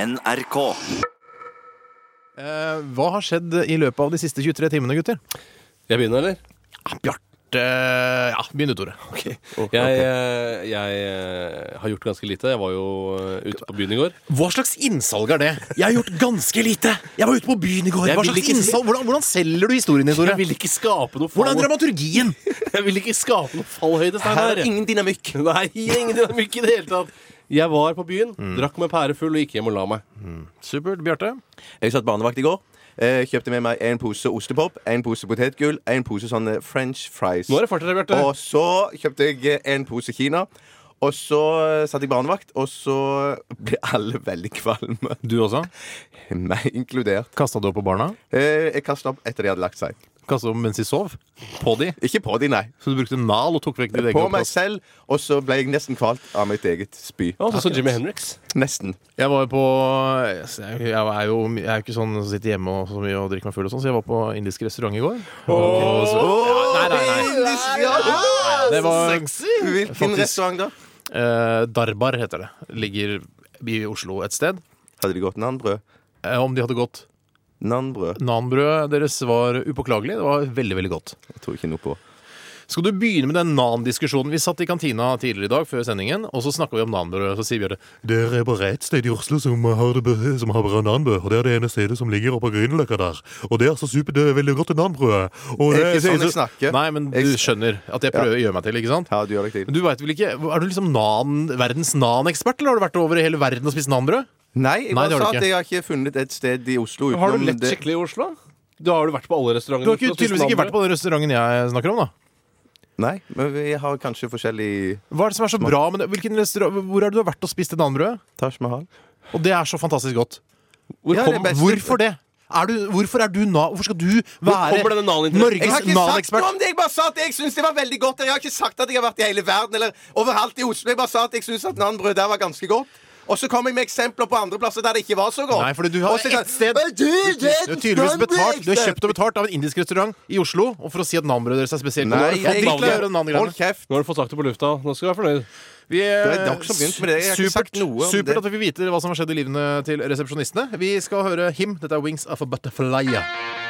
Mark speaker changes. Speaker 1: NRK.
Speaker 2: Eh, hva har skjedd i løpet av de siste 23 timene, gutter?
Speaker 3: Jeg begynner, eller?
Speaker 2: Ja, Ah, Bjarte Ja, begynn du, Tore.
Speaker 3: Jeg, eh, jeg eh, har gjort ganske lite. Jeg var jo eh, ute på byen i går.
Speaker 2: Hva slags innsalg er det? Jeg har gjort ganske lite! Jeg var ute på byen i går.
Speaker 3: Jeg
Speaker 2: Hva
Speaker 3: vil
Speaker 2: slags
Speaker 3: ikke si-
Speaker 2: innsalg? Hvordan, hvordan selger du historien din, Tore?
Speaker 3: Jeg vil ikke skape noe
Speaker 2: Hvordan er
Speaker 3: fall.
Speaker 2: dramaturgien?
Speaker 3: Jeg vil ikke skape noe fallhøyde,
Speaker 1: Her
Speaker 3: Steinar.
Speaker 1: er ingen dynamikk.
Speaker 3: Nei, ingen dynamikk i det hele tatt. Jeg var på byen,
Speaker 2: Mm.
Speaker 3: drakk meg pærefull og gikk hjem og la meg.
Speaker 2: Supert, Bjarte.
Speaker 1: Jeg satt barnevakt i går. Eh, kjøpte med meg en pose ostepop, en pose potetgull, en pose sånne french fries.
Speaker 3: Nå er det fart i deg, Bjarte.
Speaker 1: Og så kjøpte jeg eh, en pose Kina. Og så eh, satt jeg barnevakt, og så ble alle veldig kvalme.
Speaker 2: Du også?
Speaker 1: Meg inkludert.
Speaker 2: Kasta du opp på barna?
Speaker 1: Eh, Jeg kasta opp etter de hadde lagt seg.
Speaker 2: Kasta opp mens de sov? På de?
Speaker 1: Ikke på de, nei.
Speaker 2: Så du brukte nal og tok vekk ditt eget
Speaker 1: På meg
Speaker 2: oppkast?
Speaker 1: selv. Og så ble jeg nesten kvalt av mitt eget spy.
Speaker 3: Ja, sånn som Jimmy Henriks.
Speaker 1: Nesten.
Speaker 2: Jeg var jo på Jeg jeg er jo, jeg er jo ikke sånn som sitter hjemme og, så mye og drikker meg full og sånn, så jeg var på indisk restaurant i går. Og så, ja, nei, nei, nei. Det var
Speaker 1: Hvilken
Speaker 2: Faktisk.
Speaker 1: restaurant, da?
Speaker 2: Eh, Darbar heter det. Ligger i Oslo et sted.
Speaker 1: Hadde de gått nanbrød?
Speaker 2: Eh, om de hadde gått
Speaker 1: Nanbrød
Speaker 2: Nanbrødet deres var upåklagelig. Det var veldig, veldig godt.
Speaker 1: Jeg tror ikke noe på.
Speaker 2: Skal du begynne med den nan-diskusjonen? Vi satt i kantina tidligere i dag før sendingen, og så snakka vi om nanbrød. og Så sier Bjørte
Speaker 1: Eh,
Speaker 4: Dere er på rett sted i Oslo som har, det, bø- som har bra nanbrød. Og det er det ene stedet som ligger oppe på Grünerløkka der. Og det er så supert, det er veldig godt nanbrød. Og
Speaker 1: Det
Speaker 4: det
Speaker 1: er ikke sånn jeg snakker.
Speaker 2: Nei, men du
Speaker 1: Jeg-
Speaker 2: skjønner at jeg prøver å gjøre meg til, ikke sant?
Speaker 1: Ja, du gjør deg til.
Speaker 2: Men du vet vel ikke, Er du liksom nan, verdens nan-ekspert, eller har du vært over i hele verden og spist nanbrød?
Speaker 1: Nei, jeg
Speaker 2: Nei,
Speaker 1: bare
Speaker 2: det har du
Speaker 1: sa at
Speaker 2: ikke.
Speaker 1: jeg har ikke funnet et sted i Oslo utenom
Speaker 3: Har du lett
Speaker 1: det.
Speaker 3: skikkelig i Oslo? Da har du vært på alle restauranter.
Speaker 2: Du har ikke, tydeligvis ikke vært på den restauranten jeg snakker om, da.
Speaker 1: Nei, men vi har kanskje forskjellig
Speaker 2: Hva er det som er så bra med det? Hvilken restaurant, Hvor har du vært og spist det nanbrødet?
Speaker 1: Taj Mahal.
Speaker 2: Og det er så fantastisk godt.
Speaker 3: Hvor
Speaker 1: Ja, det er
Speaker 3: kom,
Speaker 1: best.
Speaker 2: Hvorfor det? Er du, hvorfor er du na... Hvorfor skal du
Speaker 3: kommer
Speaker 2: være
Speaker 3: denne nan-interessen?
Speaker 2: Norges
Speaker 1: Jeg har ikke sagt noe
Speaker 2: Nan-ekspert?
Speaker 1: om det! Jeg bare sa at jeg syns det var veldig godt. Jeg har ikke sagt at jeg har vært i hele verden eller overalt i Oslo. Jeg bare sa at jeg syns at nanbrød der var ganske godt. Og så kom jeg med eksempler på andre plasser der det ikke var så godt.
Speaker 2: Nei, fordi du har
Speaker 1: Og så-
Speaker 2: ett sted-
Speaker 1: Men Du, det
Speaker 2: Du er tydeligvis betalt Du er kjøpt og betalt av en indisk restaurant i Oslo og for å si at nanbrødet deres er spesielt
Speaker 1: Nei,
Speaker 2: godt.
Speaker 1: jeg
Speaker 2: Drit i å gjøre
Speaker 1: ikke.
Speaker 2: nan-greiene.
Speaker 1: Hold kjeft.
Speaker 3: Nå har du fått sagt det på lufta. Nå skal du være fornøyd.
Speaker 2: Vi
Speaker 1: Det er dere som begynte med det. Jeg har ikke sagt noe om
Speaker 2: supert
Speaker 1: det.
Speaker 2: at vi får vite hva som har skjedd i livene til resepsjonistene. Vi skal høre Him. Dette er Wings of a Butterfly.